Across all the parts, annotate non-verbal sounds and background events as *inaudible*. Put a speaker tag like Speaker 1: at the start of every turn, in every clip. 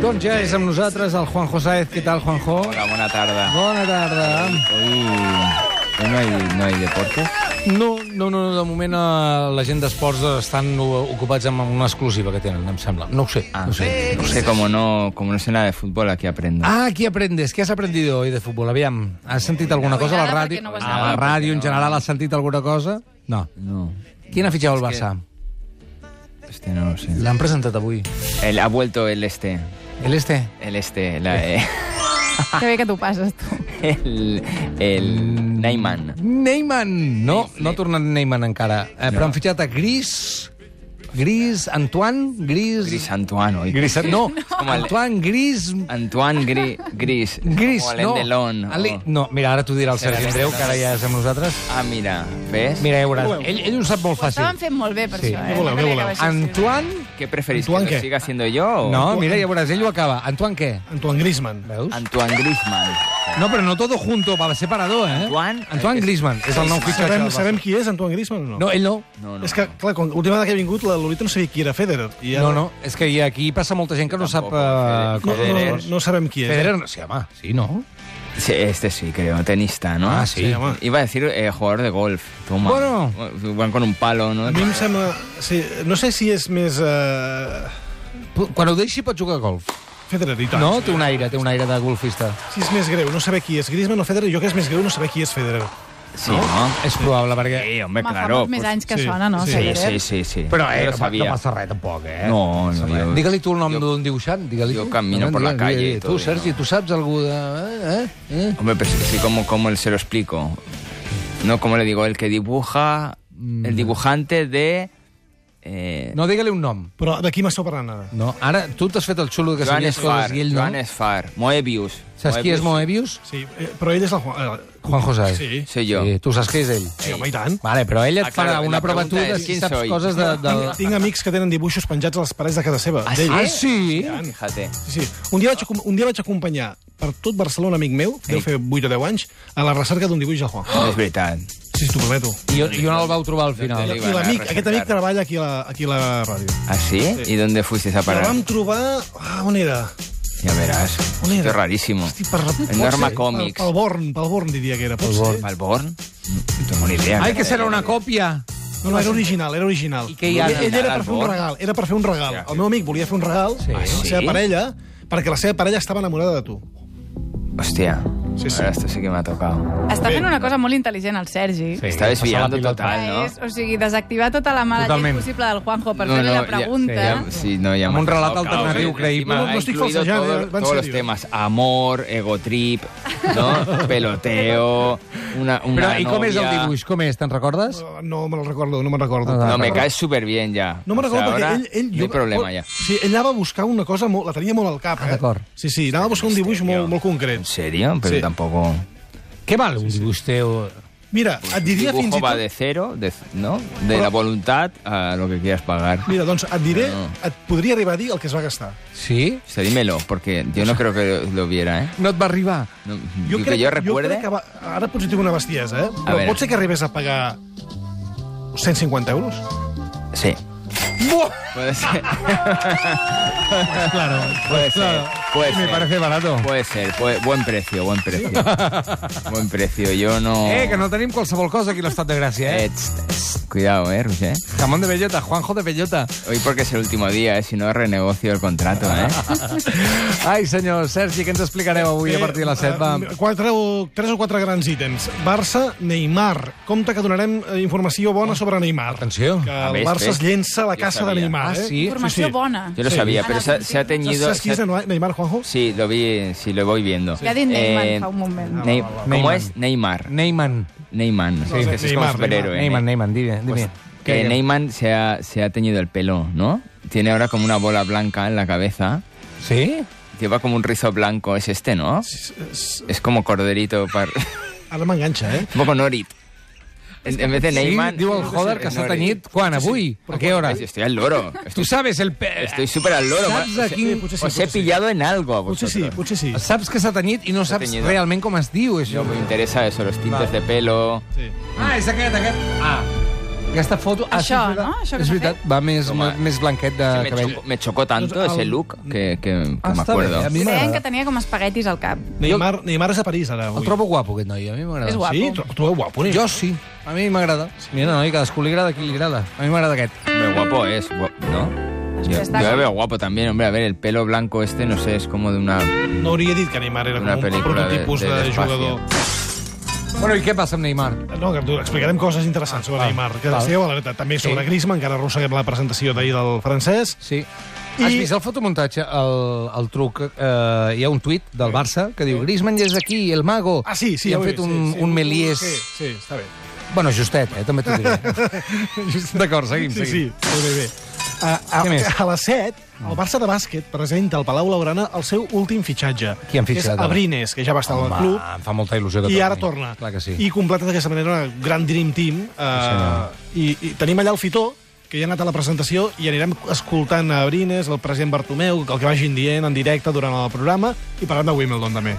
Speaker 1: Doncs ja és amb nosaltres el Juanjo Saez. Què tal, Juanjo?
Speaker 2: Hola, bona tarda.
Speaker 1: Bona tarda.
Speaker 2: Hoy, hoy no, hay, no hay deporte.
Speaker 1: No, no, no, de moment eh, la gent d'esports estan o- ocupats amb una exclusiva que tenen, em sembla. No ho sé,
Speaker 2: Ah,
Speaker 1: no ho sé.
Speaker 2: No sé, como no, como no sé nada de fútbol, aquí aprendo.
Speaker 1: Ah, aquí aprendes. Què has aprendido hoy de futbol? Aviam, has sentit alguna cosa a la
Speaker 3: Avui nada,
Speaker 1: ràdio?
Speaker 3: perquè no vas
Speaker 1: a la
Speaker 2: anar.
Speaker 1: ràdio en general has sentit alguna cosa? No.
Speaker 2: No,
Speaker 1: Qui n'ha fitxat el Barça?
Speaker 2: este no lo sé.
Speaker 1: L'han presentat avui.
Speaker 2: El, ha vuelto el este.
Speaker 1: El este?
Speaker 2: El este, la, eh, *laughs*
Speaker 3: Que bé que t'ho passes, tu.
Speaker 2: el, el Neyman.
Speaker 1: Neyman! No, no ha tornat Neyman encara. Eh, però han fitxat a Gris... Gris... Antoine? Gris...
Speaker 2: Gris Antoine, hoy.
Speaker 1: Gris... No,
Speaker 2: Com el-
Speaker 1: Antoine Gris...
Speaker 2: Antoine Gri- Gris.
Speaker 1: Gris,
Speaker 2: O el
Speaker 1: no.
Speaker 2: Endelon, o-
Speaker 1: Ali- No, mira, ara t'ho dirà el Sergi Andreu, que ara ja és amb nosalles.
Speaker 2: Ah, mira, ¿ves?
Speaker 1: Mira, ja veuràs. Ell, ell ho sap molt
Speaker 3: Estaven
Speaker 1: fàcil.
Speaker 3: fent molt bé, per
Speaker 1: Sí.
Speaker 3: això,
Speaker 1: Què
Speaker 3: eh?
Speaker 4: voleu, què
Speaker 3: creia
Speaker 4: voleu?
Speaker 3: que baixessis.
Speaker 1: Antoine...
Speaker 2: ¿Qué preferís,
Speaker 4: Antoine,
Speaker 2: que lo
Speaker 4: ¿qué?
Speaker 2: siga haciendo yo? o-
Speaker 1: No, mira, ja veuràs, ell ho acaba. Antoine què?
Speaker 4: Antoine Griezmann. Ah,
Speaker 1: Veus?
Speaker 2: Antoine Griezmann.
Speaker 1: No, però no todo junto, va separador, eh?
Speaker 2: Antoine-
Speaker 1: Antoine Griezmann. És el nou fitxatge.
Speaker 4: Sabem,
Speaker 1: del Barça.
Speaker 4: sabem qui és Antoine Griezmann o no?
Speaker 1: No, ell no.
Speaker 2: No, no.
Speaker 4: És que, clar, quan l'última vegada que he vingut, la Lolita no sabia qui era Federer. I ara
Speaker 1: No, no, és que hi ha- aquí passa molta gent que no sap...
Speaker 2: Tampoc,
Speaker 1: eh,
Speaker 2: Federer.
Speaker 4: No,
Speaker 1: coses.
Speaker 4: no, no, no sabem qui és. eh?
Speaker 1: Federer, no, sí, home, sí, no?
Speaker 2: Sí, este sí, creo, tenista, ¿no?
Speaker 1: Ah, sí.
Speaker 4: Sí, home.
Speaker 2: Iba a decir eh, jugador de golf. Toma.
Speaker 1: Bueno.
Speaker 2: Van con un palo, ¿no?
Speaker 4: A mi em sembla... Sí, no sé si és més... Uh,
Speaker 1: Quan ho deixi pot jugar a golf.
Speaker 4: Federer i tant.
Speaker 1: No? Té un aire, té un aire de golfista.
Speaker 4: Si és més greu no saber qui és Griezmann o Federer, jo crec que és més greu no saber qui és Federer.
Speaker 2: Sí, ¿no?
Speaker 1: És probable, perquè...
Speaker 2: Sí, hombre,
Speaker 3: Home, fa
Speaker 2: claro.
Speaker 3: molts més
Speaker 2: pues-
Speaker 3: anys que
Speaker 4: sí.
Speaker 3: sona, no?
Speaker 4: Sí,
Speaker 2: Sí,
Speaker 3: Federer?
Speaker 2: sí, sí, sí.
Speaker 1: Però, eh,
Speaker 2: Yo
Speaker 1: no, pa-
Speaker 2: lo
Speaker 1: no
Speaker 2: sabia.
Speaker 1: passa res, tampoc, eh?
Speaker 2: No, no, jo-
Speaker 1: Digue-li tu el nom
Speaker 2: jo-
Speaker 1: d'un dibuixant. Digue-li
Speaker 2: jo
Speaker 1: tu.
Speaker 2: camino
Speaker 1: Home,
Speaker 2: por la
Speaker 1: digue-li,
Speaker 2: calle
Speaker 1: digue-li.
Speaker 2: i
Speaker 1: Tu,
Speaker 2: tot,
Speaker 1: Sergi,
Speaker 2: no?
Speaker 1: tu saps algú de... Eh? Eh? Eh?
Speaker 2: Hombre, pero sí, sí, ¿cómo, ¿cómo se lo explico? No, como le digo, el que dibuja, el dibujante de... Eh,
Speaker 1: Mm. No, digue-li un nom.
Speaker 4: Però de qui m'esteu parlant ara?
Speaker 1: No, ara tu t'has fet el xulo que
Speaker 2: Joan
Speaker 1: sabies
Speaker 2: Esfar,
Speaker 1: coses i ell no.
Speaker 2: Joan Esfar, Moebius.
Speaker 1: Saps qui és Moebius?
Speaker 4: Sí, eh, però ell és el Juan... Eh,
Speaker 1: Juan José.
Speaker 4: sí.
Speaker 2: Soy yo.
Speaker 1: Sí, tu saps qui és ell.
Speaker 4: Sí, home, i tant.
Speaker 1: Vale, però ell et
Speaker 2: Ah,
Speaker 1: farà
Speaker 2: claro,
Speaker 1: una
Speaker 2: la
Speaker 1: prova a tu
Speaker 2: pregunta
Speaker 1: de
Speaker 2: és,
Speaker 1: si
Speaker 2: ¿quién
Speaker 1: saps
Speaker 2: soy?
Speaker 1: coses de... de...
Speaker 4: Tinc amics que tenen dibuixos penjats a les parets Ah, de casa seva.
Speaker 2: Ah,
Speaker 4: d'ell.
Speaker 1: Ah, sí?
Speaker 2: Fíjate.
Speaker 4: Sí, sí. Un dia, vaig, acom- un dia vaig acompanyar per tot Barcelona, amic meu, que deu fer 8 o 10 anys, a la recerca d'un dibuix del Juan.
Speaker 2: Es verdad.
Speaker 4: Sí, sí, t'ho prometo.
Speaker 1: I, on- I on el vau trobar al final?
Speaker 2: Sí,
Speaker 4: I
Speaker 2: van a
Speaker 4: l'amic,
Speaker 2: recercar.
Speaker 4: aquest amic treballa aquí a la, aquí a la ràdio.
Speaker 2: ¿Ah, sí? ¿Y dónde fuisteis a
Speaker 4: Però
Speaker 2: parar?
Speaker 4: vam trobar... Ah, on era?
Speaker 2: Ya verás.
Speaker 4: On era?
Speaker 2: Esto es rarísimo.
Speaker 4: Hosti, per, pot
Speaker 2: Norma
Speaker 4: ser,
Speaker 2: Comics.
Speaker 4: Pel, pel Born, pel Born diria que era. Pot ser.
Speaker 2: ¿Palborn? No tengo ni idea.
Speaker 1: Ai, que serà una còpia.
Speaker 4: No, no, era original, era original.
Speaker 1: I què hi ha?
Speaker 4: Ell- Ell era
Speaker 2: Al
Speaker 4: per fer un
Speaker 2: Born?
Speaker 4: regal, era per fer un regal. El meu amic volia fer un regal a la
Speaker 2: sí?
Speaker 4: seva parella, perquè la seva parella estava enamorada de tu.
Speaker 2: Hostia.
Speaker 4: Sí, sí.
Speaker 2: Ahora esto sí que me ha tocado.
Speaker 3: Està fent una cosa molt intel·ligent, el Sergi.
Speaker 2: Està desviando
Speaker 1: Passar la pilota.
Speaker 2: total,
Speaker 3: Ah,
Speaker 2: ¿no?
Speaker 3: És, o sigui, desactivar tota la mala
Speaker 1: Totalment.
Speaker 3: llet possible del Juanjo per fer-li la pregunta.
Speaker 2: Ya, ya- sí, no, ya
Speaker 1: Amb
Speaker 2: me
Speaker 1: un
Speaker 2: ha
Speaker 1: relat
Speaker 2: tocado.
Speaker 1: alternatiu
Speaker 2: Encima
Speaker 1: creïble.
Speaker 2: ha
Speaker 4: No, no estic
Speaker 2: incluido
Speaker 4: falsejant,
Speaker 2: todo-
Speaker 4: eh, va en
Speaker 2: todos los
Speaker 4: serio.
Speaker 2: temas. Amor, ego trip, ¿no? peloteo, una, una
Speaker 1: Però, I com és el
Speaker 2: novia.
Speaker 1: dibuix? Com és? Te'n recordes?
Speaker 4: Però No me la recordo, no me'n recordo.
Speaker 1: Ah,
Speaker 2: No, me caes súper bien ya.
Speaker 4: No me'n
Speaker 2: O sea,
Speaker 4: recordo perquè
Speaker 2: ahora
Speaker 4: ell... ell
Speaker 2: No hay problema ya.
Speaker 4: Sí, ell anava a buscar una cosa, molt, la tenia molt al cap.
Speaker 1: Ah, d'acord.
Speaker 4: Eh? Sí, sí, anava a buscar un dibuix molt, molt
Speaker 2: ¿En
Speaker 4: concret.
Speaker 2: serio? Pero
Speaker 4: Sí.
Speaker 2: tampoco...
Speaker 1: Què val un dibuix teu?
Speaker 4: Mira, et diria fins
Speaker 2: dibujo
Speaker 4: i
Speaker 2: va
Speaker 4: tot...
Speaker 2: de cero, de, ¿no? De
Speaker 4: Però-
Speaker 2: la voluntad a lo que quieras pagar.
Speaker 4: Mira, doncs et diré,
Speaker 2: No, no.
Speaker 4: et podria arribar a dir el que es va gastar.
Speaker 1: Sí?
Speaker 2: O sea, dímelo, porque yo no creo que lo viera, ¿eh?
Speaker 1: No et va arribar?
Speaker 2: No, yo que yo recuerde...
Speaker 4: crec que va... Ara potser tinc una bestiesa, eh? Però
Speaker 2: veure.
Speaker 4: pot ser que arribés a pagar 150 euros?
Speaker 2: Sí. Puede ser.
Speaker 1: Claro.
Speaker 2: Puede ser. Puede
Speaker 1: Me
Speaker 2: ser.
Speaker 1: parece barato.
Speaker 2: Puede ser. Puede- buen precio, buen precio. buen precio. Yo no...
Speaker 1: *laughs* Eh, que no tenim qualsevol cosa aquí a l'Estat de Gràcia, eh?
Speaker 2: Eh, tss, tss, Cuidado, eh, Roger.
Speaker 1: Jamón de bellota, Juanjo de bellota.
Speaker 2: Hoy porque es el último día, eh. Si no, renegocio el contrato,
Speaker 1: *laughs*
Speaker 2: eh.
Speaker 1: Ai, senyor Sergi, què ens explicareu avui a partir de les 7? Va.
Speaker 4: Eh, Quatre o, tres o quatre grans ítems. Barça, Neymar. Compte que donarem eh, informació bona sobre Neymar.
Speaker 1: Oh. Atenció.
Speaker 4: Que
Speaker 2: Ah,
Speaker 4: el
Speaker 2: ves,
Speaker 4: Barça
Speaker 2: ves.
Speaker 4: es llença a la
Speaker 2: Jo
Speaker 4: caça de
Speaker 2: sabia.
Speaker 4: Neymar.
Speaker 1: Ah,
Speaker 4: eh?
Speaker 1: sí?
Speaker 3: Informació
Speaker 4: sí.
Speaker 3: bona.
Speaker 2: Yo lo
Speaker 4: Sí.
Speaker 2: sabía,
Speaker 3: A
Speaker 2: pero
Speaker 3: la
Speaker 2: se, ha- se ha
Speaker 3: ofensiva.
Speaker 2: teñido...
Speaker 4: ¿Saps qui
Speaker 2: se
Speaker 4: és
Speaker 2: ha-
Speaker 4: Neymar, Juanjo?
Speaker 2: Sí, lo vi, sí, lo voy viendo.
Speaker 3: Li ha dit Neymar
Speaker 2: Eh,
Speaker 3: fa un moment.
Speaker 2: Ney-
Speaker 4: va, va,
Speaker 1: va.
Speaker 2: ¿Cómo
Speaker 1: Neymar.
Speaker 2: es? Neymar.
Speaker 1: Neyman.
Speaker 2: Neymar.
Speaker 4: Sí,
Speaker 2: que es como
Speaker 4: Neymar,
Speaker 2: superhéroe. ¿eh?
Speaker 1: Neyman, Neyman, dime, dime.
Speaker 2: Pues, Que Neymar se ha, se ha teñido el pelo, ¿no? Tiene ahora como una bola blanca en la cabeza.
Speaker 1: Sí?
Speaker 2: Lleva como un rizo blanco, es este, ¿no? Es como corderito *laughs* para...
Speaker 4: Ara m'enganxa, eh?
Speaker 2: un poco Norit. En, en vez de Neymar...
Speaker 1: Sí, diu el Joder que s'ha tenyit. Quan? Avui? A què hora?
Speaker 2: Ay, Estoy al loro.
Speaker 1: Tu
Speaker 2: Estoy
Speaker 1: sabes el... pe-
Speaker 2: estoy súper al loro.
Speaker 1: ¿Sabes
Speaker 2: ma-
Speaker 1: a quién?
Speaker 2: os he-
Speaker 4: Potser sí,
Speaker 2: Os he
Speaker 4: potser sí.
Speaker 2: pillado en algo a
Speaker 4: Potser
Speaker 2: vosotros.
Speaker 4: sí, pues- potser sí.
Speaker 1: Saps que s'ha tenyit i no
Speaker 2: S'ha
Speaker 1: saps
Speaker 2: tenyit.
Speaker 1: realment com es diu, això.
Speaker 2: No me interesa eso, los tintes de pelo.
Speaker 4: sí.
Speaker 1: Ah, és aquest, aquest. Ah. Aquesta foto...
Speaker 3: Això,
Speaker 1: és veritat.
Speaker 3: no? Això que
Speaker 1: és
Speaker 3: s'ha
Speaker 1: veritat, va més,
Speaker 2: Home.
Speaker 1: més blanquet de
Speaker 2: Sí, me,
Speaker 1: cabell.
Speaker 2: chocó, me chocó tanto
Speaker 4: Doncs el-
Speaker 2: ese look que, que, que
Speaker 1: Ah,
Speaker 2: me
Speaker 1: està
Speaker 2: acuerdo.
Speaker 1: bé, a mi
Speaker 3: Deien que
Speaker 1: m'agrada.
Speaker 3: tenia com espaguetis al cap.
Speaker 4: Neymar, Neymar és a París,
Speaker 1: El
Speaker 4: ara, avui.
Speaker 1: trobo guapo, aquest noi, a mi m'agrada.
Speaker 3: És guapo.
Speaker 4: Sí? Tro- Trobeu guapo, eh? Neymar?
Speaker 1: Jo sí, a mi m'agrada. Mira, noi, cadascú li agrada a qui li agrada. A mi m'agrada aquest.
Speaker 2: Hombre, guapo es, guapo, ¿no?
Speaker 3: Después
Speaker 2: Yo,
Speaker 3: está
Speaker 2: yo le
Speaker 3: con-
Speaker 2: veo guapo también, hombre. A ver, el pelo blanco este, no sé, es como de una...
Speaker 4: No hauria dit que Neymar era
Speaker 2: Una
Speaker 4: com un
Speaker 2: pel·lícula
Speaker 4: prototipus
Speaker 2: de-
Speaker 4: de,
Speaker 2: de
Speaker 4: de
Speaker 2: l'espacio.
Speaker 4: jugador.
Speaker 1: Bueno, i què passa amb Neymar?
Speaker 4: No, que explicarem coses interessants sobre
Speaker 1: val,
Speaker 4: Neymar, que
Speaker 1: Ah, val.
Speaker 4: estigueu a la veritat. També
Speaker 1: Sí.
Speaker 4: sobre Griezmann, que ara arrosseguem la presentació d'ahir del francès.
Speaker 1: Sí. I...
Speaker 4: I-
Speaker 1: Has vist el fotomuntatge, el, el truc? Eh, hi ha un tuit del Barça que diu Griezmann ja és aquí, el mago.
Speaker 4: Ah, sí, sí.
Speaker 1: I
Speaker 4: ja
Speaker 1: han
Speaker 4: ho he
Speaker 1: fet
Speaker 4: vist,
Speaker 1: un,
Speaker 4: sí, sí.
Speaker 1: un meliès...
Speaker 4: Sí, sí, està bé.
Speaker 1: Bueno, justet, eh? també t'ho diré.
Speaker 4: *laughs*
Speaker 1: D'acord, seguim,
Speaker 4: Sí,
Speaker 1: seguim.
Speaker 4: sí, bé, bé, bé. A, a,
Speaker 1: Què més?
Speaker 4: a les 7, el Barça de bàsquet presenta al Palau Laurana el seu últim fitxatge.
Speaker 1: Qui han fitxat,
Speaker 4: És
Speaker 1: ara?
Speaker 4: Abrines, que ja va estar al
Speaker 1: Home,
Speaker 4: club,
Speaker 1: em fa molta il·lusió que
Speaker 4: i ara
Speaker 1: torni.
Speaker 4: torna.
Speaker 1: Clar que sí.
Speaker 4: I completa d'aquesta manera una gran Dream Team. Eh, i, I tenim allà el Fitó, que ja ha anat a la presentació, i anirem escoltant a Abrines, el president Bartomeu, el que vagin dient en directe durant el programa, i parlant de Wimbledon, també.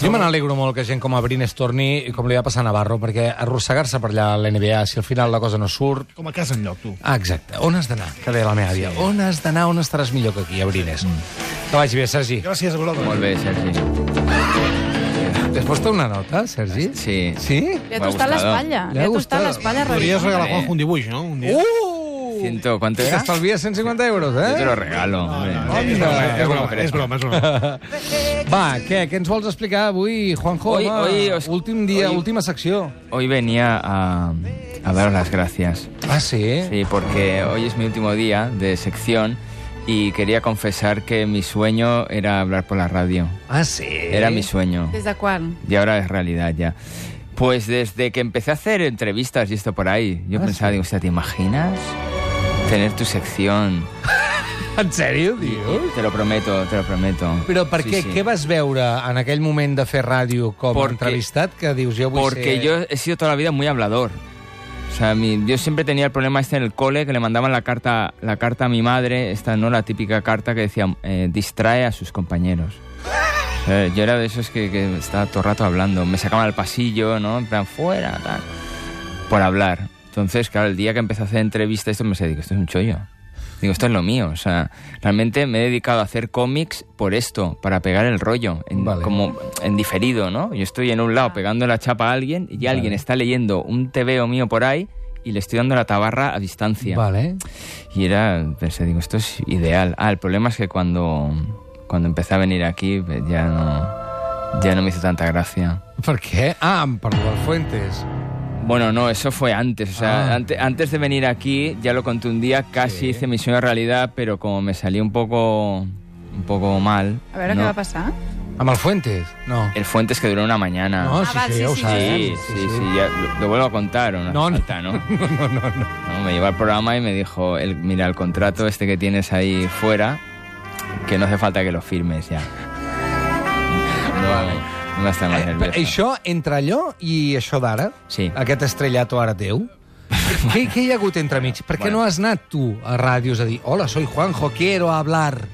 Speaker 1: Jo me n'alegro molt que gent com Abrines torni i com li va passar a Navarro, perquè arrossegar-se per allà a l'NBA, si al final la cosa no surt...
Speaker 4: Com a casa enlloc, tu.
Speaker 1: Ah, exacte. On has d'anar? Que deia la meva Mm. àvia. On has d'anar? On estaràs millor que aquí, Abrines? Que vagi bé, Sergi.
Speaker 4: Gràcies a vosaltres.
Speaker 2: Molt bé, Sergi.
Speaker 1: Després té una nota, Sergi?
Speaker 2: Sí.
Speaker 1: Sí?
Speaker 3: Li ha
Speaker 2: M'ha gustat.
Speaker 3: tostat l'espatlla.
Speaker 1: Li
Speaker 3: Li
Speaker 1: ha
Speaker 3: ha tostat
Speaker 1: gustat.
Speaker 3: l'espatlla
Speaker 4: Podries
Speaker 3: raríssim.
Speaker 4: regalar a Juanjo un dibuix, no? Un dia.
Speaker 1: Uh!
Speaker 2: Ciento, ¿cuánto era?
Speaker 1: T'estalvies 150 euros, eh?
Speaker 2: Yo te lo regalo, hombre.
Speaker 4: És broma, és broma, és broma, és broma.
Speaker 1: Va, què, què ens vols explicar avui, Juanjo?
Speaker 2: Oi,
Speaker 1: home?
Speaker 2: oi, os-
Speaker 1: Últim dia,
Speaker 2: oi.
Speaker 1: última secció.
Speaker 2: Hoy venía a, a daros las gracias.
Speaker 1: Ah, sí?
Speaker 2: Sí, porque hoy es mi último día de sección y quería confesar que mi sueño era hablar por la radio.
Speaker 1: Ah, sí?
Speaker 2: Era mi sueño.
Speaker 3: Des de quan?
Speaker 2: Y ahora es realidad ya. Pues desde que empecé a hacer entrevistas y esto por ahí, yo
Speaker 1: Ah,
Speaker 2: pensaba, digo, o sea, ¿te imaginas tener tu sección?
Speaker 1: En sèrio, dius?
Speaker 2: Te lo prometo, te lo prometo.
Speaker 1: Però per
Speaker 2: Sí,
Speaker 1: què?
Speaker 2: sí.
Speaker 1: Què vas veure en aquell moment de fer ràdio com a
Speaker 2: Porque-
Speaker 1: entrevistat que dius jo vull
Speaker 2: Porque
Speaker 1: ser...
Speaker 2: yo he sido toda la vida muy hablador. O sea, mi- yo siempre tenía el problema este en el cole, que le mandaban la carta, la carta a mi madre, esta no la típica carta que decía, eh, distrae a sus compañeros. O sea, yo era de esos que, que estaba todo el rato hablando, me sacaban al pasillo, ¿no? En plan, fuera, tal. Por hablar. Entonces, claro, el día que empecé a hacer entrevistas, esto me sé, digo, esto es un chollo. Digo, esto es lo mío. O sea, realmente me he dedicado a hacer cómics por esto, para pegar el rollo, en-
Speaker 1: Vale.
Speaker 2: como en diferido, ¿no? Yo estoy en un
Speaker 3: Ah.
Speaker 2: lado pegando la chapa a alguien y alguien está leyendo un TVO mío por ahí y le estoy dando la tabarra a distancia.
Speaker 1: Vale.
Speaker 2: Y era, pensé, digo, esto es ideal. Ah, el problema es que cuando, cuando empecé a venir aquí pues, ya no, ya no me hizo tanta gracia.
Speaker 1: Per què? Ah, per Dual Fuentes.
Speaker 2: Bueno, no, eso fue antes. O sea,
Speaker 1: Ah.
Speaker 2: ante- antes, de venir aquí ya lo conté un día, casi
Speaker 1: Sí.
Speaker 2: hice mi sueño realidad, pero como me salió un poco, un poco mal.
Speaker 3: A veure
Speaker 2: ¿no?
Speaker 3: què va passar.
Speaker 1: Amb el Fuentes? No.
Speaker 2: El Fuentes que duró una mañana.
Speaker 1: No,
Speaker 3: Ah,
Speaker 1: sí,
Speaker 3: va,
Speaker 1: ¿eh? sí,
Speaker 3: sí,
Speaker 1: ja ho
Speaker 3: sí,
Speaker 1: saps.
Speaker 2: Sí, sí, sí, ya lo, lo vuelvo a contar, ¿o no?
Speaker 1: No, no.
Speaker 2: hace falta, ¿no?
Speaker 1: *laughs* No, no, no, no.
Speaker 2: No, Me llevó al programa y me dijo, el- mira, el contrato este que tienes ahí fuera, que no hace falta que lo
Speaker 1: *laughs*
Speaker 2: firmes ya. No, no me está
Speaker 1: Eh,
Speaker 2: más nervioso.
Speaker 1: Això, entre allò i això d'ara,
Speaker 2: Sí.
Speaker 1: aquest estrellato ara teu,
Speaker 2: *laughs*
Speaker 1: què, què hi ha hagut entre mig? Per què
Speaker 2: Bueno.
Speaker 1: no has anat tu a ràdios a dir hola, soy Juanjo, quiero hablar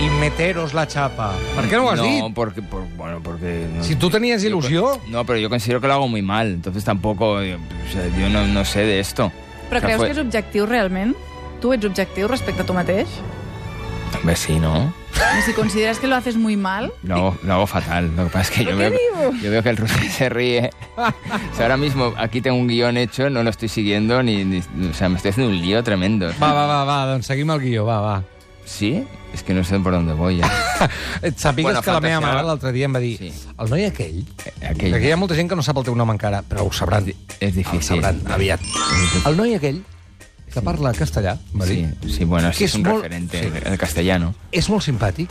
Speaker 1: y meteros la chapa? Per què no ho has
Speaker 2: no,
Speaker 1: dit?
Speaker 2: Porque, por- bueno, porque... no-
Speaker 1: Si tu tenies
Speaker 2: yo-
Speaker 1: il·lusió...
Speaker 2: No, pero yo considero que lo hago muy mal, entonces tampoco... eh, o sea, yo no, no sé de esto.
Speaker 3: Però creus que és objectiu realment? Tu ets objectiu respecte a tu mateix?
Speaker 2: es...? Hombre, sí, ¿no?
Speaker 3: I si consideras que lo haces muy mal...
Speaker 2: Lo hago, lo hago fatal. Lo que pasa es que yo veo, yo veo que el Rubén *laughs* se ríe. O sea, ahora mismo aquí tengo un guión hecho, no lo estoy siguiendo, ni, ni- o sea, me estoy haciendo un lío tremendo.
Speaker 1: Va, va, va, va, doncs seguim el guió, va, va.
Speaker 2: ¿Sí? Es que no sé por dónde voy. ya.
Speaker 1: Et sàpigues
Speaker 2: Bueno,
Speaker 1: que la meva
Speaker 2: fantasia.
Speaker 1: mare l'altre dia em va dir
Speaker 2: Sí. Eh,
Speaker 1: el noi aquell,
Speaker 2: aquell.
Speaker 1: que hi ha molta gent que no sap el teu nom encara, però ho sabran,
Speaker 2: Es
Speaker 1: el
Speaker 2: difícil.
Speaker 1: sabran aviat. El noi aquell que parla castellà, em va dir,
Speaker 2: Sí, sí, bueno,
Speaker 1: Que
Speaker 2: sí, es
Speaker 1: es
Speaker 2: un
Speaker 1: mol-
Speaker 2: referente
Speaker 1: sí.
Speaker 2: al castellano.
Speaker 1: és molt simpàtic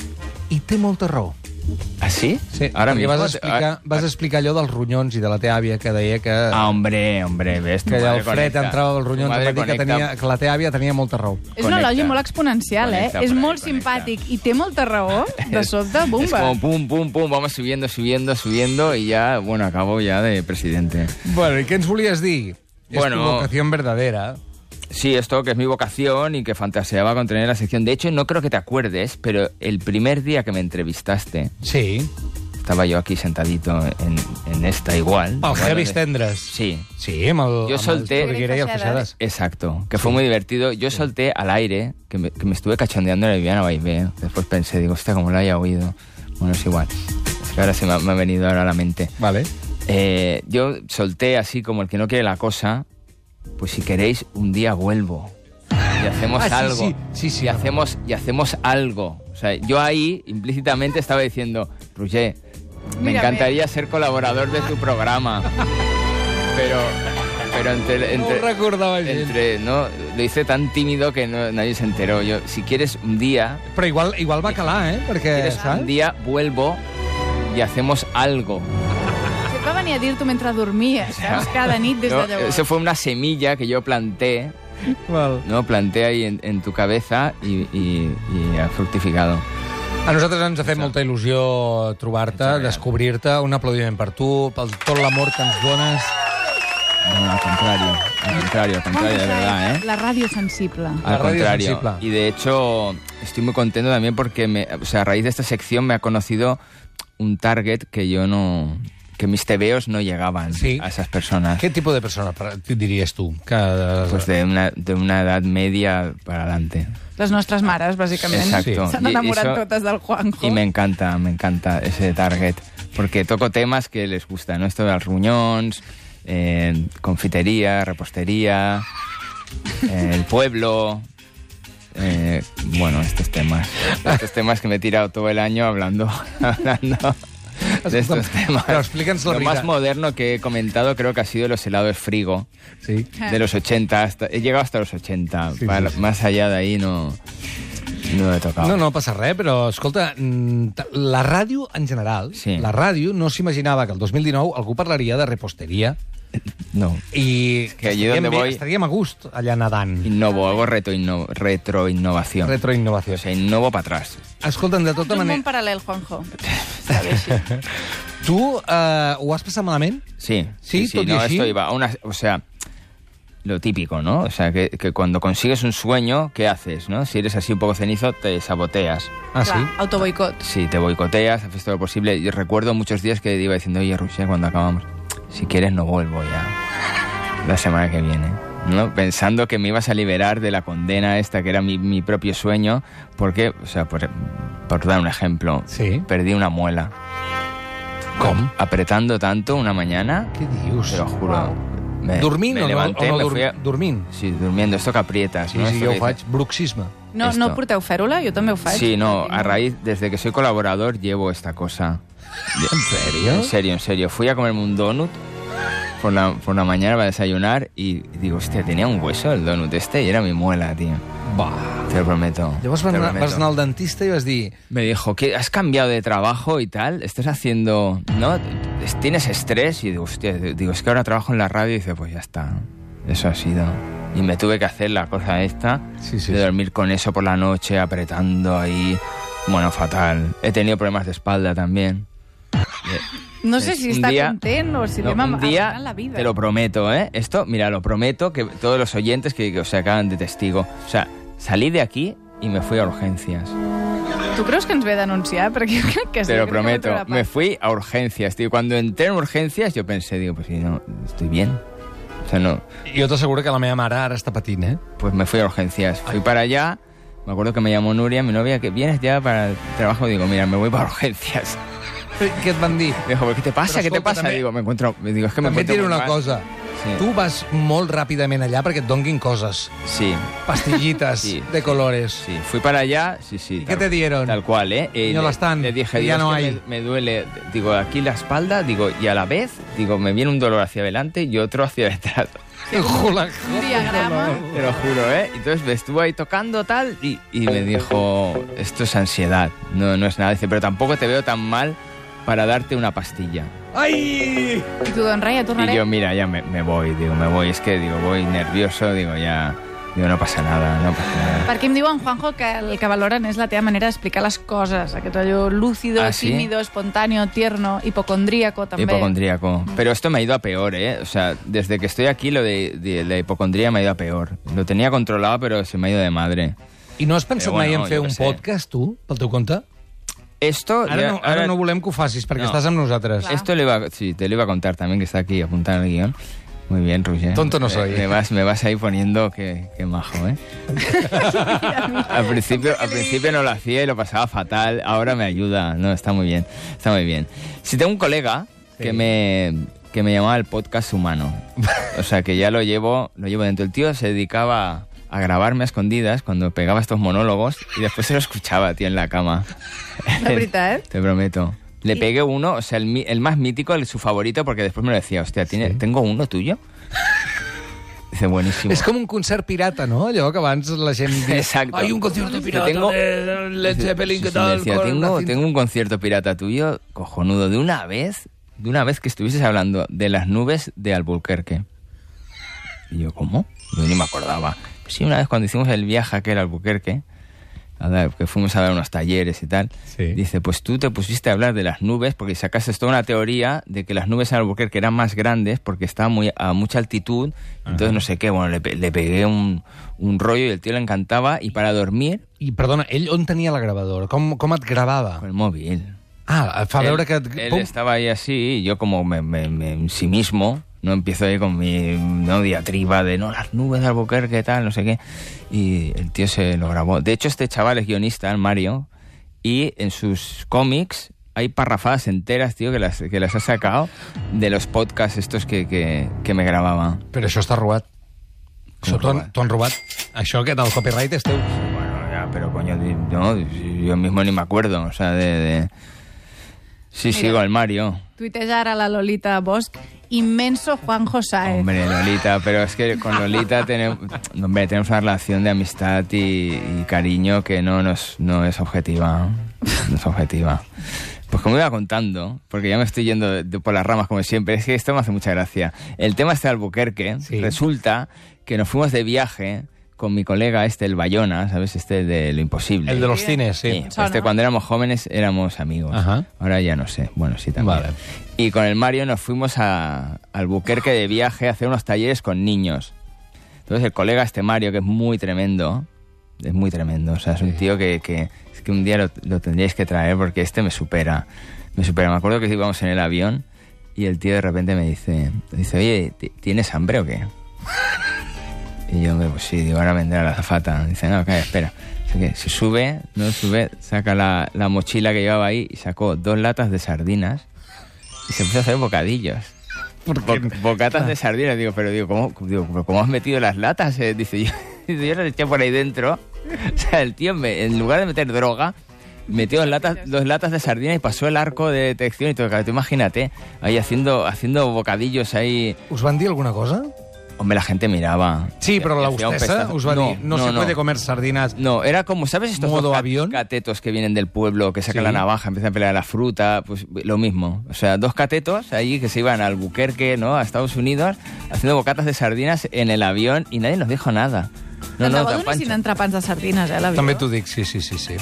Speaker 1: i té molta raó.
Speaker 2: ¿Ah, sí?
Speaker 1: Sí,
Speaker 2: Ahora
Speaker 1: perquè
Speaker 2: mismo.
Speaker 1: vas
Speaker 2: te-
Speaker 1: explicar,
Speaker 2: ah,
Speaker 1: vas explicar allò dels ronyons i de la teva àvia que deia que,
Speaker 2: Ah, hombre, hombre, ves. tu
Speaker 1: que allà
Speaker 2: madre
Speaker 1: el fred
Speaker 2: conecta.
Speaker 1: entrava
Speaker 2: Tu
Speaker 1: dels ronyons em
Speaker 2: madre
Speaker 1: va dir que,
Speaker 2: conecta.
Speaker 1: tenia,
Speaker 2: *laughs*
Speaker 1: que la teva àvia tenia molta raó.
Speaker 3: És un
Speaker 2: Connecta.
Speaker 3: elogi molt exponencial, eh?
Speaker 2: Connecta,
Speaker 3: És
Speaker 2: por ahí,
Speaker 3: molt
Speaker 2: connecta.
Speaker 3: simpàtic i té molta raó. De sobte,
Speaker 2: Es
Speaker 3: bomba.
Speaker 2: como pum, pum, pum, vamos subiendo, subiendo, subiendo y ya, bueno, acabo ya de presidente.
Speaker 1: Bueno, i què ens volies dir?
Speaker 2: Bueno.
Speaker 1: És tu vocació verdadera.
Speaker 2: Sí, esto que es mi vocación y que fantaseaba con tener la sección. De hecho, no creo que te acuerdes, pero el primer día que me entrevistaste,
Speaker 1: Sí.
Speaker 2: estaba yo aquí sentadito en, en esta igual.
Speaker 1: El
Speaker 2: Igual
Speaker 1: Heavis
Speaker 2: de-
Speaker 1: Tendres.
Speaker 2: Sí,
Speaker 1: Sí, amb el,
Speaker 2: Jo
Speaker 1: amb el
Speaker 2: solté-
Speaker 1: Sorguera i el Feixades.
Speaker 2: Exacto, que fue muy divertido. Yo solté al aire, que me, que me estuve cachondeando en el Viana Baibé. Después pensé, digo, hostia, como lo haya oído. Bueno, es igual. Es que ahora se me ha, me ha venido ahora a la mente.
Speaker 1: Vale.
Speaker 2: Eh, yo solté así como el que no quiere la cosa, pues si queréis, un día vuelvo. Y hacemos
Speaker 1: Ah, sí,
Speaker 2: algo.
Speaker 1: sí, sí, sí,
Speaker 2: y,
Speaker 1: me
Speaker 2: hacemos, y hacemos algo. O sea, yo ahí implícitamente estaba diciendo, Roger, me
Speaker 3: Mírame.
Speaker 2: encantaría ser colaborador de tu programa. Pero, pero entre,
Speaker 1: No
Speaker 2: entre,
Speaker 1: ho recordava gent.
Speaker 2: entre- no, lo hice tan tímido que no- nadie se enteró. Yo, si quieres un día,
Speaker 1: Però igual, igual va calar, eh? Perquè,
Speaker 2: quieres
Speaker 1: saps?
Speaker 2: un día vuelvo y hacemos algo.
Speaker 3: Et va venir a dir-t'ho mentre dormies, saps? Cada nit des
Speaker 2: ¿no?
Speaker 3: de llavors.
Speaker 2: Eso fue una semilla que yo planté,
Speaker 1: Val.
Speaker 2: no, planté ahí en, en tu cabeza y, y- y ha fructificado.
Speaker 1: A nosaltres ens ha fet molta il·lusió trobar-te,
Speaker 2: Exacte.
Speaker 1: descobrir-te. Un aplaudiment per tu, pel tot l'amor que ens dones.
Speaker 2: No, al contrario, al contrario, al
Speaker 3: Com
Speaker 2: contrario, de
Speaker 3: us ha
Speaker 2: verdad, ¿eh?
Speaker 3: hecho La ràdio sensible.
Speaker 1: La
Speaker 2: Al
Speaker 1: radio
Speaker 2: contrario.
Speaker 1: sensible.
Speaker 2: Y de hecho, estoy muy contento también porque me, o sea, a raíz de esta sección me ha conocido un target que yo no. que mis tebeos no llegaban
Speaker 1: Sí.
Speaker 2: a esas personas.
Speaker 1: Què tipus de persona per- diries tu? Que...
Speaker 2: Pues de una, de una edad media para adelante.
Speaker 3: Les nostres mares, bàsicament.
Speaker 2: Exacto.
Speaker 3: S'han
Speaker 2: Y- y
Speaker 3: enamorat
Speaker 2: eso-
Speaker 3: totes del Juanjo.
Speaker 2: Y me encanta, me encanta ese target. Porque toco temas que les gusta, ¿no? Esto de los ruñones, eh, confitería, repostería, eh, el pueblo. eh, bueno, estos temas. Estos temas que me he tirado todo el año hablando. *laughs* hablando de estos temas.
Speaker 1: Pero explícanos la
Speaker 2: Lo más
Speaker 1: vida.
Speaker 2: moderno que he comentado creo que ha sido los helados frigo
Speaker 1: Sí.
Speaker 2: de los 80. Hasta, he llegado hasta los 80.
Speaker 1: Sí,
Speaker 2: Para-
Speaker 1: sí, sí.
Speaker 2: Más allá de ahí no, no he tocado.
Speaker 1: No, no passa res, però, escolta, mm, t- la ràdio en general,
Speaker 2: Sí.
Speaker 1: la ràdio no s'imaginava que el 2019 algú parlaria de reposteria
Speaker 2: no.
Speaker 1: i
Speaker 2: que allí donde
Speaker 1: bé-
Speaker 2: voy-
Speaker 1: estaríem a gust allà nadant.
Speaker 2: Innovo, hago reto inno- retroinnovación.
Speaker 1: Retroinnovació.
Speaker 2: O sea, innovo para atrás.
Speaker 1: Escolta'm, de
Speaker 3: Ets
Speaker 1: tota
Speaker 3: un
Speaker 1: manera,
Speaker 3: món paral·lel,
Speaker 2: *laughs*
Speaker 3: Juanjo.
Speaker 2: Ah,
Speaker 1: tu eh, ho has passat malament?
Speaker 2: Sí,
Speaker 1: Sí,
Speaker 2: sí,
Speaker 1: tot y
Speaker 2: no,
Speaker 1: así.
Speaker 2: esto iba. a una- o sea, lo típico, ¿no? O sea, que, que cuando consigues un sueño, ¿qué haces, no? Si eres así un poco cenizo, te saboteas.
Speaker 1: Ah, sí?
Speaker 3: Autoboicot.
Speaker 2: Si te boicoteas, haces todo lo posible. Yo recuerdo muchos días que iba diciendo, oye, Roger, cuando acabamos, si quieres no vuelvo ya. La semana que viene. ¿no? Pensando que me ibas a liberar de la condena esta, que era mi, mi propio sueño, porque, o sea, por, por dar un ejemplo,
Speaker 1: Sí.
Speaker 2: perdí una muela.
Speaker 1: Com?
Speaker 2: apretando tanto una mañana,
Speaker 1: Què dius?
Speaker 2: te lo juro. Me,
Speaker 1: Dormint
Speaker 2: me
Speaker 1: o no,
Speaker 2: levanté,
Speaker 1: o no
Speaker 2: me
Speaker 1: dur-
Speaker 2: fui a-
Speaker 1: dormint?
Speaker 2: Sí, durmiendo, esto que aprietas.
Speaker 1: Sí,
Speaker 2: ¿no?
Speaker 1: sí,
Speaker 2: Esto
Speaker 1: jo
Speaker 2: que
Speaker 1: ho faig. Bruxisme.
Speaker 3: No,
Speaker 2: Esto.
Speaker 3: no porteu fèrula? Jo també ho faig.
Speaker 2: Sí, no, a raíz, desde que soy colaborador llevo esta cosa.
Speaker 1: En sèrio?
Speaker 2: En serio, en serio. Fui a comerme un donut por la, por la mañana para desayunar y digo, hostia, tenía un hueso el donut este y era mi muela, tío.
Speaker 1: Va.
Speaker 2: Te lo prometo.
Speaker 1: Llavors
Speaker 2: te
Speaker 1: vas
Speaker 2: lo
Speaker 1: anar,
Speaker 2: prometo.
Speaker 1: vas anar al dentista i vas dir...
Speaker 2: Me dijo, ¿qué? ¿Has cambiado de trabajo y tal? ¿Estás haciendo...? ¿No? ¿Tienes estrés? Y digo, hostia, digo, es que ahora trabajo en la radio. Y dice, pues ya está. Eso ha sido. Y me tuve que hacer la cosa esta
Speaker 1: Sí, sí,
Speaker 2: de
Speaker 1: sí.
Speaker 2: dormir con eso por la noche, apretando ahí. Bueno, fatal. He tenido problemas de espalda
Speaker 3: *laughs*
Speaker 2: también.
Speaker 3: No sé si
Speaker 2: Un
Speaker 3: està
Speaker 2: día-
Speaker 3: content o si
Speaker 2: No,
Speaker 3: vam
Speaker 2: un día,
Speaker 3: arruinar la vida.
Speaker 2: te lo prometo, ¿eh? Esto, mira, lo prometo que todos los oyentes que, que se acaban de testigo. O sea, salí de aquí y me fui a urgencias.
Speaker 3: Tu creus que ens ve a denunciar? Perquè jo crec que sí.
Speaker 2: Te lo
Speaker 3: crec que vam
Speaker 2: prometo.
Speaker 3: treure pa.
Speaker 2: Me fui a urgencias, tío. Cuando entré en urgencias, yo pensé, digo, pues sí, no, estoy bien. O sea, no.
Speaker 1: Jo t'asseguro que la meva mare ara està patint, eh?
Speaker 2: Pues me fui a urgencias. Fui para allá. Me acuerdo que me llamó Nuria, mi novia, que vienes ya para el trabajo. Digo, mira, me voy para *laughs* urgencias.
Speaker 1: Què et van dir?
Speaker 2: Me dijo, ¿qué te pasa?
Speaker 1: Pero
Speaker 2: ¿Qué te
Speaker 1: escolta,
Speaker 2: pasa?
Speaker 1: també-
Speaker 2: Digo, me encuentro. me Digo, es que me
Speaker 1: També et diré
Speaker 2: encuentro. muy
Speaker 1: una
Speaker 2: mal".
Speaker 1: cosa.
Speaker 2: Sí.
Speaker 1: Tu vas molt ràpidament allà perquè et donguin coses.
Speaker 2: Sí,
Speaker 1: Pastillitas
Speaker 2: Sí,
Speaker 1: de colores.
Speaker 2: sí. Fui para allá, sí, sí.
Speaker 1: ¿Y
Speaker 2: tal-
Speaker 1: qué te dieron?
Speaker 2: Tal cual, ¿eh? Eh,
Speaker 1: Señor
Speaker 2: le-
Speaker 1: Lastán,
Speaker 2: Le dije,
Speaker 1: que
Speaker 2: digo,
Speaker 1: ya no
Speaker 2: es que
Speaker 1: hay.
Speaker 2: Me, me duele, digo, aquí la espalda, digo, y a la vez, digo, me viene un dolor hacia adelante y otro hacia detrás.
Speaker 1: El hula-
Speaker 3: Un diagrama.
Speaker 2: Te lo juro, ¿eh? Entonces me estuvo ahí tocando tal y, y me dijo, esto es ansiedad, no, no es nada. Dice, pero tampoco te veo tan mal para darte una pastilla.
Speaker 1: Ai!
Speaker 3: I tu, doncs res, ja
Speaker 2: Y
Speaker 3: tornaré.
Speaker 2: yo, mira, ya me, me voy, digo, me voy. Es que, digo, voy nervioso, digo, ya, digo, no pasa nada, no pasa nada.
Speaker 3: Perquè em diuen, Juanjo, que el que valoren és la teva manera d'explicar les coses. Aquest rotllo lúcido,
Speaker 2: Ah, sí?
Speaker 3: tímido, espontáneo, tierno, hipocondríaco, també.
Speaker 2: Hipocondríaco. Pero esto me ha ido a peor, ¿eh? O sea, desde que estoy aquí lo de, de la hipocondría me ha ido a peor. Lo tenía controlado, pero se me ha ido de madre.
Speaker 1: I no has pensat
Speaker 2: Eh, bueno,
Speaker 1: mai en fer
Speaker 2: jo
Speaker 1: un
Speaker 2: què sé.
Speaker 1: podcast, tu, pel teu compte?
Speaker 2: Esto,
Speaker 1: Ara
Speaker 2: ya-
Speaker 1: no, ara no volem que ho facis, perquè
Speaker 2: No.
Speaker 1: estàs amb nosaltres.
Speaker 3: Clar.
Speaker 2: Esto le iba, sí, te lo iba a contar también, que está aquí apuntando el guión. Muy bien, Roger.
Speaker 1: Tonto no soy.
Speaker 2: Eh, Me, vas, me vas ahí poniendo que, que majo, ¿eh? al, principio, al principio no lo hacía y lo pasaba fatal. Ahora me ayuda. No, está muy bien. Está muy bien. Si tengo un colega que me que me llamaba el podcast humano. O sea, que ya lo llevo, lo llevo dentro. El tío se dedicaba a grabarme a escondidas cuando pegaba estos monólogos y después se lo escuchaba, tío, en la cama. *laughs*
Speaker 3: La veritat?
Speaker 2: Te prometo. Le pegué uno, o sea, el, mi- el más mítico, el, su favorito, porque después me lo decía, hostia, ¿tiene, ¿tengo uno tuyo? Dice, buenísimo.
Speaker 1: És com un concert pirata, no? Allò que abans la gent diu...
Speaker 2: Exacto.
Speaker 1: Hay un concierto pirata
Speaker 2: tengo-
Speaker 1: de Led
Speaker 2: Dice,
Speaker 1: Zeppelin,
Speaker 2: sí,
Speaker 1: ¿qué
Speaker 2: sí, me
Speaker 1: tal?
Speaker 2: decía,
Speaker 1: Con
Speaker 2: tengo,
Speaker 1: la cinta".
Speaker 2: tengo un concierto pirata tuyo, cojonudo, de una vez, de una vez que estuvieses hablando de las nubes de Albuquerque. Y yo, ¿cómo? Yo ni me acordaba. Sí, una vez cuando hicimos el viaje aquel a Albuquerque, a dar- que fuimos a dar unos talleres y tal,
Speaker 1: Sí.
Speaker 2: dice, pues tú te pusiste a hablar de las nubes porque sacaste toda una teoría de que las nubes en Albuquerque eran más grandes porque estaban muy, a mucha altitud, entonces no sé qué, bueno, le, pe- le pegué un, un rollo y el tío le encantaba y para dormir,
Speaker 1: I, perdona, ell on tenia la gravadora? Com, com et gravava?
Speaker 2: con el móvil.
Speaker 1: Ah, fa
Speaker 2: Él-
Speaker 1: veure que... et-
Speaker 2: Él
Speaker 1: Pum.
Speaker 2: estaba ahí así y yo como me, me- me- en sí mismo, no empiezo ahí con mi no, diatriba de no, las nubes de Albuquerque, tal, no sé qué. Y el tío se lo grabó. De hecho, este chaval es guionista, el Mario, y en sus cómics hay parrafadas enteras, tío, que las, que las ha sacado de los podcasts estos que, que, que me grababa.
Speaker 1: Però això està robat. Això t'ho han,
Speaker 2: robat?
Speaker 1: t'ho han robat. Això que del copyright és teu.
Speaker 2: Bueno, ya, pero coño, di- no, yo mismo ni me acuerdo, o sea, de... de- Sí,
Speaker 3: Mira.
Speaker 2: sí, con el Mario.
Speaker 3: Tuiteja ara la Lolita Bosch. Inmenso Juanjo Saez.
Speaker 2: Hombre, Lolita, pero es que con Lolita tenemos, hombre, tenemos una relación de amistad y, y cariño que no, nos, no es objetiva. No es objetiva. Pues como iba contando, porque ya me estoy yendo de- de por las ramas como siempre, es que esto me hace mucha gracia. El tema este de Albuquerque,
Speaker 1: Sí.
Speaker 2: resulta que nos fuimos de viaje con mi colega este, el Bayona, ¿sabes? Este de lo imposible.
Speaker 1: El de los cines, sí.
Speaker 2: Sí, este,
Speaker 3: Sona.
Speaker 2: cuando éramos jóvenes éramos amigos.
Speaker 1: Ajá.
Speaker 2: Ahora ya no sé. Bueno, sí, también.
Speaker 1: Vale.
Speaker 2: Y con el Mario nos fuimos a Albuquerque de viaje a hacer unos talleres con niños. Entonces el colega este Mario, que es muy tremendo, es muy tremendo. O sea, es un tío que, que- es que un día lo, lo tendríais que traer porque este me supera. Me supera. Me acuerdo que íbamos en el avión y el tío de repente me dice, dice oye, ¿ti- ¿tienes hambre o qué? Y yo, pues sí, digo, ahora vendrá la azafata. Dice, no, calla, espera. Así que se sube, no sube, saca la, la mochila que llevaba ahí y sacó dos latas de sardinas y se puso a hacer bocadillos. Bo- bocatas de sardinas, digo, pero digo, ¿cómo, digo, ¿pero cómo has metido las latas? eh? Dice, yo, *laughs* dice, yo las eché por ahí dentro. *laughs* O sea, el tío, me- en lugar de meter droga, metió dos latas, dos latas de sardinas y pasó el arco de detección y todo. Claro, tú imagínate, ahí haciendo, haciendo bocadillos ahí.
Speaker 1: Us van dir alguna cosa?
Speaker 2: Hombre, la gente mirava.
Speaker 1: Sí, però
Speaker 2: Y
Speaker 1: la
Speaker 2: hacía un
Speaker 1: hostessa
Speaker 2: pestazo.
Speaker 1: us va dir no, se puede comer sardines.
Speaker 2: No, era como, ¿sabes estos
Speaker 1: ¿Modo
Speaker 2: dos
Speaker 1: avión?
Speaker 2: catetos que vienen del pueblo, que sacan
Speaker 1: Sí.
Speaker 2: la navaja, empiezan a pelear la fruta? Pues lo mismo. O sea, dos catetos allí que se iban al Buquerque, ¿no? A Estados Unidos, haciendo bocatas de sardinas en el avión y nadie nos dijo nada. No,
Speaker 3: Ens
Speaker 2: no,
Speaker 3: la va
Speaker 2: tan
Speaker 3: donar
Speaker 2: pancho.
Speaker 3: sin entrepans de sardines, eh, l'avió?
Speaker 1: També t'ho dic, sí, sí, sí. sí.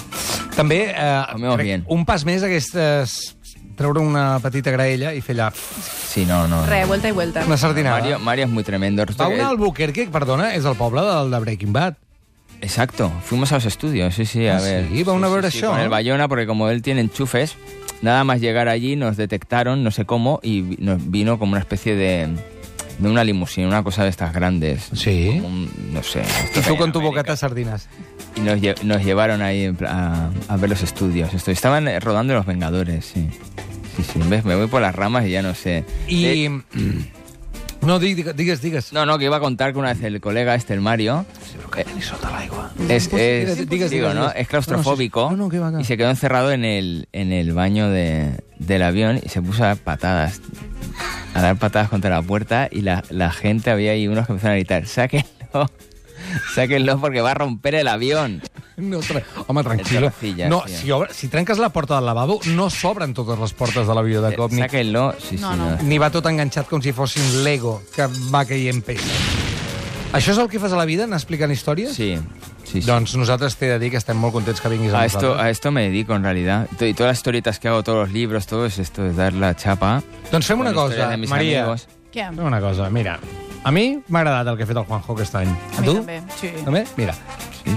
Speaker 1: També, eh,
Speaker 2: Comemos
Speaker 1: crec-
Speaker 2: bien.
Speaker 1: un pas més aquestes... treure una petita graella i fer allà
Speaker 2: Sí, no, no. no.
Speaker 3: Re, vuelta i vuelta.
Speaker 1: una sardinada.
Speaker 2: Mario, Mario es muy tremendo.
Speaker 1: Va
Speaker 2: Resulta que-
Speaker 1: una al Buquerque, perdona, és el poble del de Breaking Bad.
Speaker 2: Exacto, fuimos a los estudios, sí, sí, a
Speaker 1: Ah,
Speaker 2: ver.
Speaker 1: sí, vamos a ver eso,
Speaker 2: Con
Speaker 1: ¿no?
Speaker 2: el Bayona, porque como él tiene enchufes, nada más llegar allí nos detectaron, no sé cómo, y vi- nos vino como una especie de, de una limusina, una cosa de estas grandes.
Speaker 1: Sí.
Speaker 2: Como un- no sé. esto
Speaker 1: I
Speaker 2: que
Speaker 1: tu
Speaker 2: hay
Speaker 1: con
Speaker 2: en
Speaker 1: tu
Speaker 2: América.
Speaker 1: bocata de sardines.
Speaker 2: Y nos, lle- nos llevaron ahí en pla- a, a ver los estudios. Esto, estaban eh, rodando Los Vengadores, sí. Sí, sí, ves, me voy por las ramas y ya no sé.
Speaker 1: I... mm, No, digue- digues, digues.
Speaker 2: No, no, que iba a contar que una vez el colega este, el Mario... eh, Es,
Speaker 1: Imposible,
Speaker 2: es-
Speaker 1: digas, digas,
Speaker 2: digo, ¿no?
Speaker 1: digas.
Speaker 2: es claustrofóbico
Speaker 1: No, no, que va, que va.
Speaker 2: y se quedó encerrado en el, en el baño de- del avión y se puso a dar patadas. A dar patadas contra la puerta y la, la gente había ahí unos que empezaron a gritar, sáquenlo, *laughs* sáquenlo porque va a romper el avión.
Speaker 1: No, tra... Home, tranquil.
Speaker 2: terracilla,
Speaker 1: No,
Speaker 2: sí.
Speaker 1: si, obre, si trenques la porta del lavabo, no s'obren totes les portes de l'avió de
Speaker 2: Eh,
Speaker 1: cop, ni,
Speaker 2: Sáquenlo, sí,
Speaker 3: No,
Speaker 2: sí,
Speaker 3: no.
Speaker 1: ni va tot enganxat com si fossin Lego, que va caient peça. Això és el que fas a la vida, anar explicant històries?
Speaker 2: Sí, sí, sí.
Speaker 1: Doncs nosaltres t'he de dir que estem molt contents que vinguis a,
Speaker 2: A esto,
Speaker 1: nosaltres.
Speaker 2: a esto me dedico en realidad. Y todas las historietas que hago, todos los libros, todo es esto, es dar la chapa.
Speaker 1: Doncs fem
Speaker 2: con
Speaker 1: una
Speaker 2: historias
Speaker 1: cosa,
Speaker 2: de mis
Speaker 1: Maria.
Speaker 2: amigos.
Speaker 3: Què?
Speaker 1: Fem una cosa, mira. A mi m'ha agradat el que ha fet el Juanjo aquest any.
Speaker 3: A mi també, sí.
Speaker 1: També? Mira,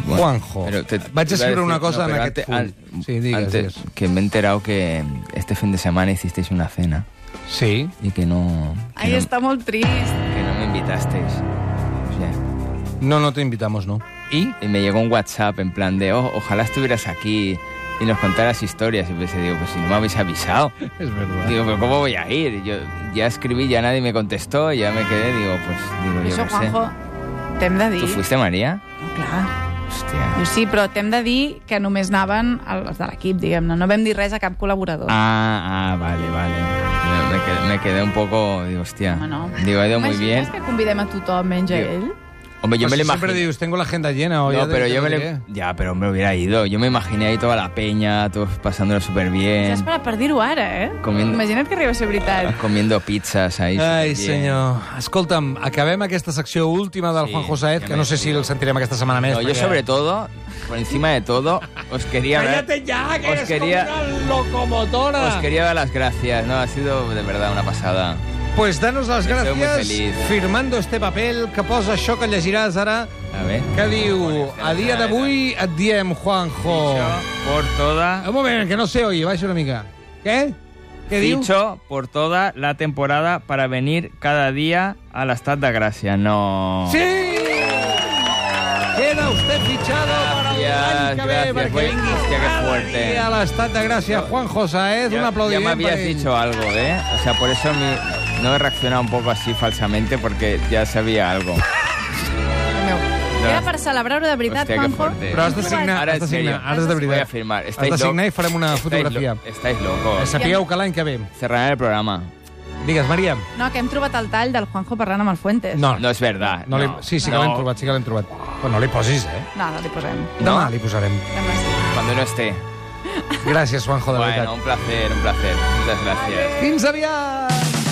Speaker 2: Bueno,
Speaker 1: Juanjo,
Speaker 2: pero te- te
Speaker 1: vaig
Speaker 2: iba a
Speaker 1: escriure
Speaker 2: decir-
Speaker 1: una cosa en
Speaker 2: pero
Speaker 1: aquest
Speaker 2: ante-
Speaker 1: full. Sí, digues, digues.
Speaker 2: Que me he enterado que este fin de semana hicisteis una cena
Speaker 1: Sí.
Speaker 2: y que no... que
Speaker 3: Ai,
Speaker 2: no-
Speaker 3: està molt trist.
Speaker 2: Que no me invitasteis. O sea,
Speaker 1: No, no te invitamos, no.
Speaker 2: ¿Y? me llegó un WhatsApp en plan de, "Oh, ojalá estuvieras aquí y nos contaras historias. Y pensé, digo, pues si no me habéis *laughs* avisado.
Speaker 1: Es verdad.
Speaker 2: Digo, pero ¿cómo voy a ir? Y Yo ya escribí, ya nadie me contestó, ya me quedé, digo, pues, digo,
Speaker 3: I
Speaker 2: yo
Speaker 3: això,
Speaker 2: qué sé.
Speaker 3: Juanjo, t'hem de dir...
Speaker 2: ¿Tú fuiste, María?
Speaker 3: No, clar.
Speaker 2: Hostia.
Speaker 3: Jo sí, però t'hem de dir que només anaven els de l'equip, diguem-ne. No vam dir res a cap col·laborador.
Speaker 2: Ah, ah, vale, vale. Me- Me quedé, me quedé un poco, digo, hostia.
Speaker 3: Home, no.
Speaker 2: Digo, ha ido muy
Speaker 3: Imagines
Speaker 2: bien.
Speaker 3: que convidem a tothom, menys a
Speaker 2: Digo,
Speaker 3: ell?
Speaker 2: Hombre, yo
Speaker 1: Pues
Speaker 2: me lo
Speaker 1: si siempre
Speaker 2: imagino.
Speaker 1: dius, tengo la agenda llena. o ya
Speaker 2: No,
Speaker 1: te-
Speaker 2: pero
Speaker 1: te
Speaker 2: yo
Speaker 1: lo
Speaker 2: me
Speaker 1: diré.
Speaker 2: lo... Ya, pero me hubiera ido. Yo me imaginé ahí toda la peña, todos pasándolo súper bien.
Speaker 3: Estàs per, per dir-ho ara, eh?
Speaker 2: Comien-
Speaker 3: Imagina't que arriba a ser veritat.
Speaker 2: comiendo pizzas ahí.
Speaker 1: Ai,
Speaker 2: superbien.
Speaker 1: senyor. Escolta'm, acabem aquesta secció última del
Speaker 2: Sí,
Speaker 1: Juan Josaet,
Speaker 2: ja
Speaker 1: que no sé
Speaker 2: m'he
Speaker 1: si
Speaker 2: ido.
Speaker 1: el sentirem aquesta setmana més.
Speaker 2: No, yo
Speaker 1: perquè-
Speaker 2: sobre todo, por encima de todo, os quería dar,
Speaker 1: ya,
Speaker 2: os quería-
Speaker 1: locomotora.
Speaker 2: os quería dar las gracias. No, ha sido de verdad una pasada.
Speaker 1: Pues danos les
Speaker 2: Esteu muy
Speaker 1: gràcies
Speaker 2: feliz.
Speaker 1: firmando este papel que posa això que llegiràs ara,
Speaker 2: A ver.
Speaker 1: que diu, a dia d'avui
Speaker 2: eh?
Speaker 1: et diem, Juanjo.
Speaker 2: Dicho por toda,
Speaker 1: Un moment, que no se oye, baixa una mica. Què? Què diu?
Speaker 2: dicho por toda la temporada para venir cada día a la Estad de Gracia. No.
Speaker 1: Sí! Queda usted fichado para el
Speaker 2: Gràcies,
Speaker 1: any que ve,
Speaker 2: gràcies.
Speaker 1: perquè
Speaker 2: Vull-
Speaker 1: vingui
Speaker 2: Hòstia, que
Speaker 1: cada
Speaker 2: fuerte.
Speaker 1: dia a l'estat de gràcia. Juan Josaez, un
Speaker 2: Ya, ya
Speaker 1: aplaudiment.
Speaker 2: me habías
Speaker 1: per ell.
Speaker 2: dicho algo, ¿eh? O sea, por eso mi- no he reaccionado un poco así falsamente porque ya
Speaker 1: *laughs*
Speaker 2: sabía algo.
Speaker 3: Meu.
Speaker 2: No.
Speaker 3: Era per celebrar-ho de veritat,
Speaker 2: Hòstia, que
Speaker 3: Juanjo.
Speaker 2: fuerte.
Speaker 1: Però has de signar,
Speaker 2: Ara,
Speaker 1: has de
Speaker 2: en serio,
Speaker 1: signar, ara has de
Speaker 2: Voy a
Speaker 1: veritat.
Speaker 2: firmar.
Speaker 1: Has
Speaker 2: Estáis
Speaker 1: de
Speaker 2: loc-
Speaker 1: signar i farem una
Speaker 2: estáis lo-
Speaker 1: fotografia. Eh,
Speaker 2: Estáis locos.
Speaker 1: Sapigueu que l'any que ve.
Speaker 2: Cerrar el programa.
Speaker 1: Digues, Maria.
Speaker 3: No, que hem trobat el tall del Juanjo parlant amb el Fuentes.
Speaker 1: No,
Speaker 2: No es verdad.
Speaker 1: Ah. no, li...
Speaker 2: no.
Speaker 1: Sí, sí que
Speaker 2: No.
Speaker 1: l'hem trobat, sí que l'hem trobat. Però no li posis, eh?
Speaker 3: No, no li posem.
Speaker 1: Demà
Speaker 2: No.
Speaker 1: li posarem.
Speaker 3: Demà sí.
Speaker 2: Cuando no esté.
Speaker 1: Gràcies, Juanjo, de
Speaker 2: Bueno,
Speaker 1: veritat.
Speaker 2: un placer, un placer. Muchas gracias.
Speaker 1: Fins aviat!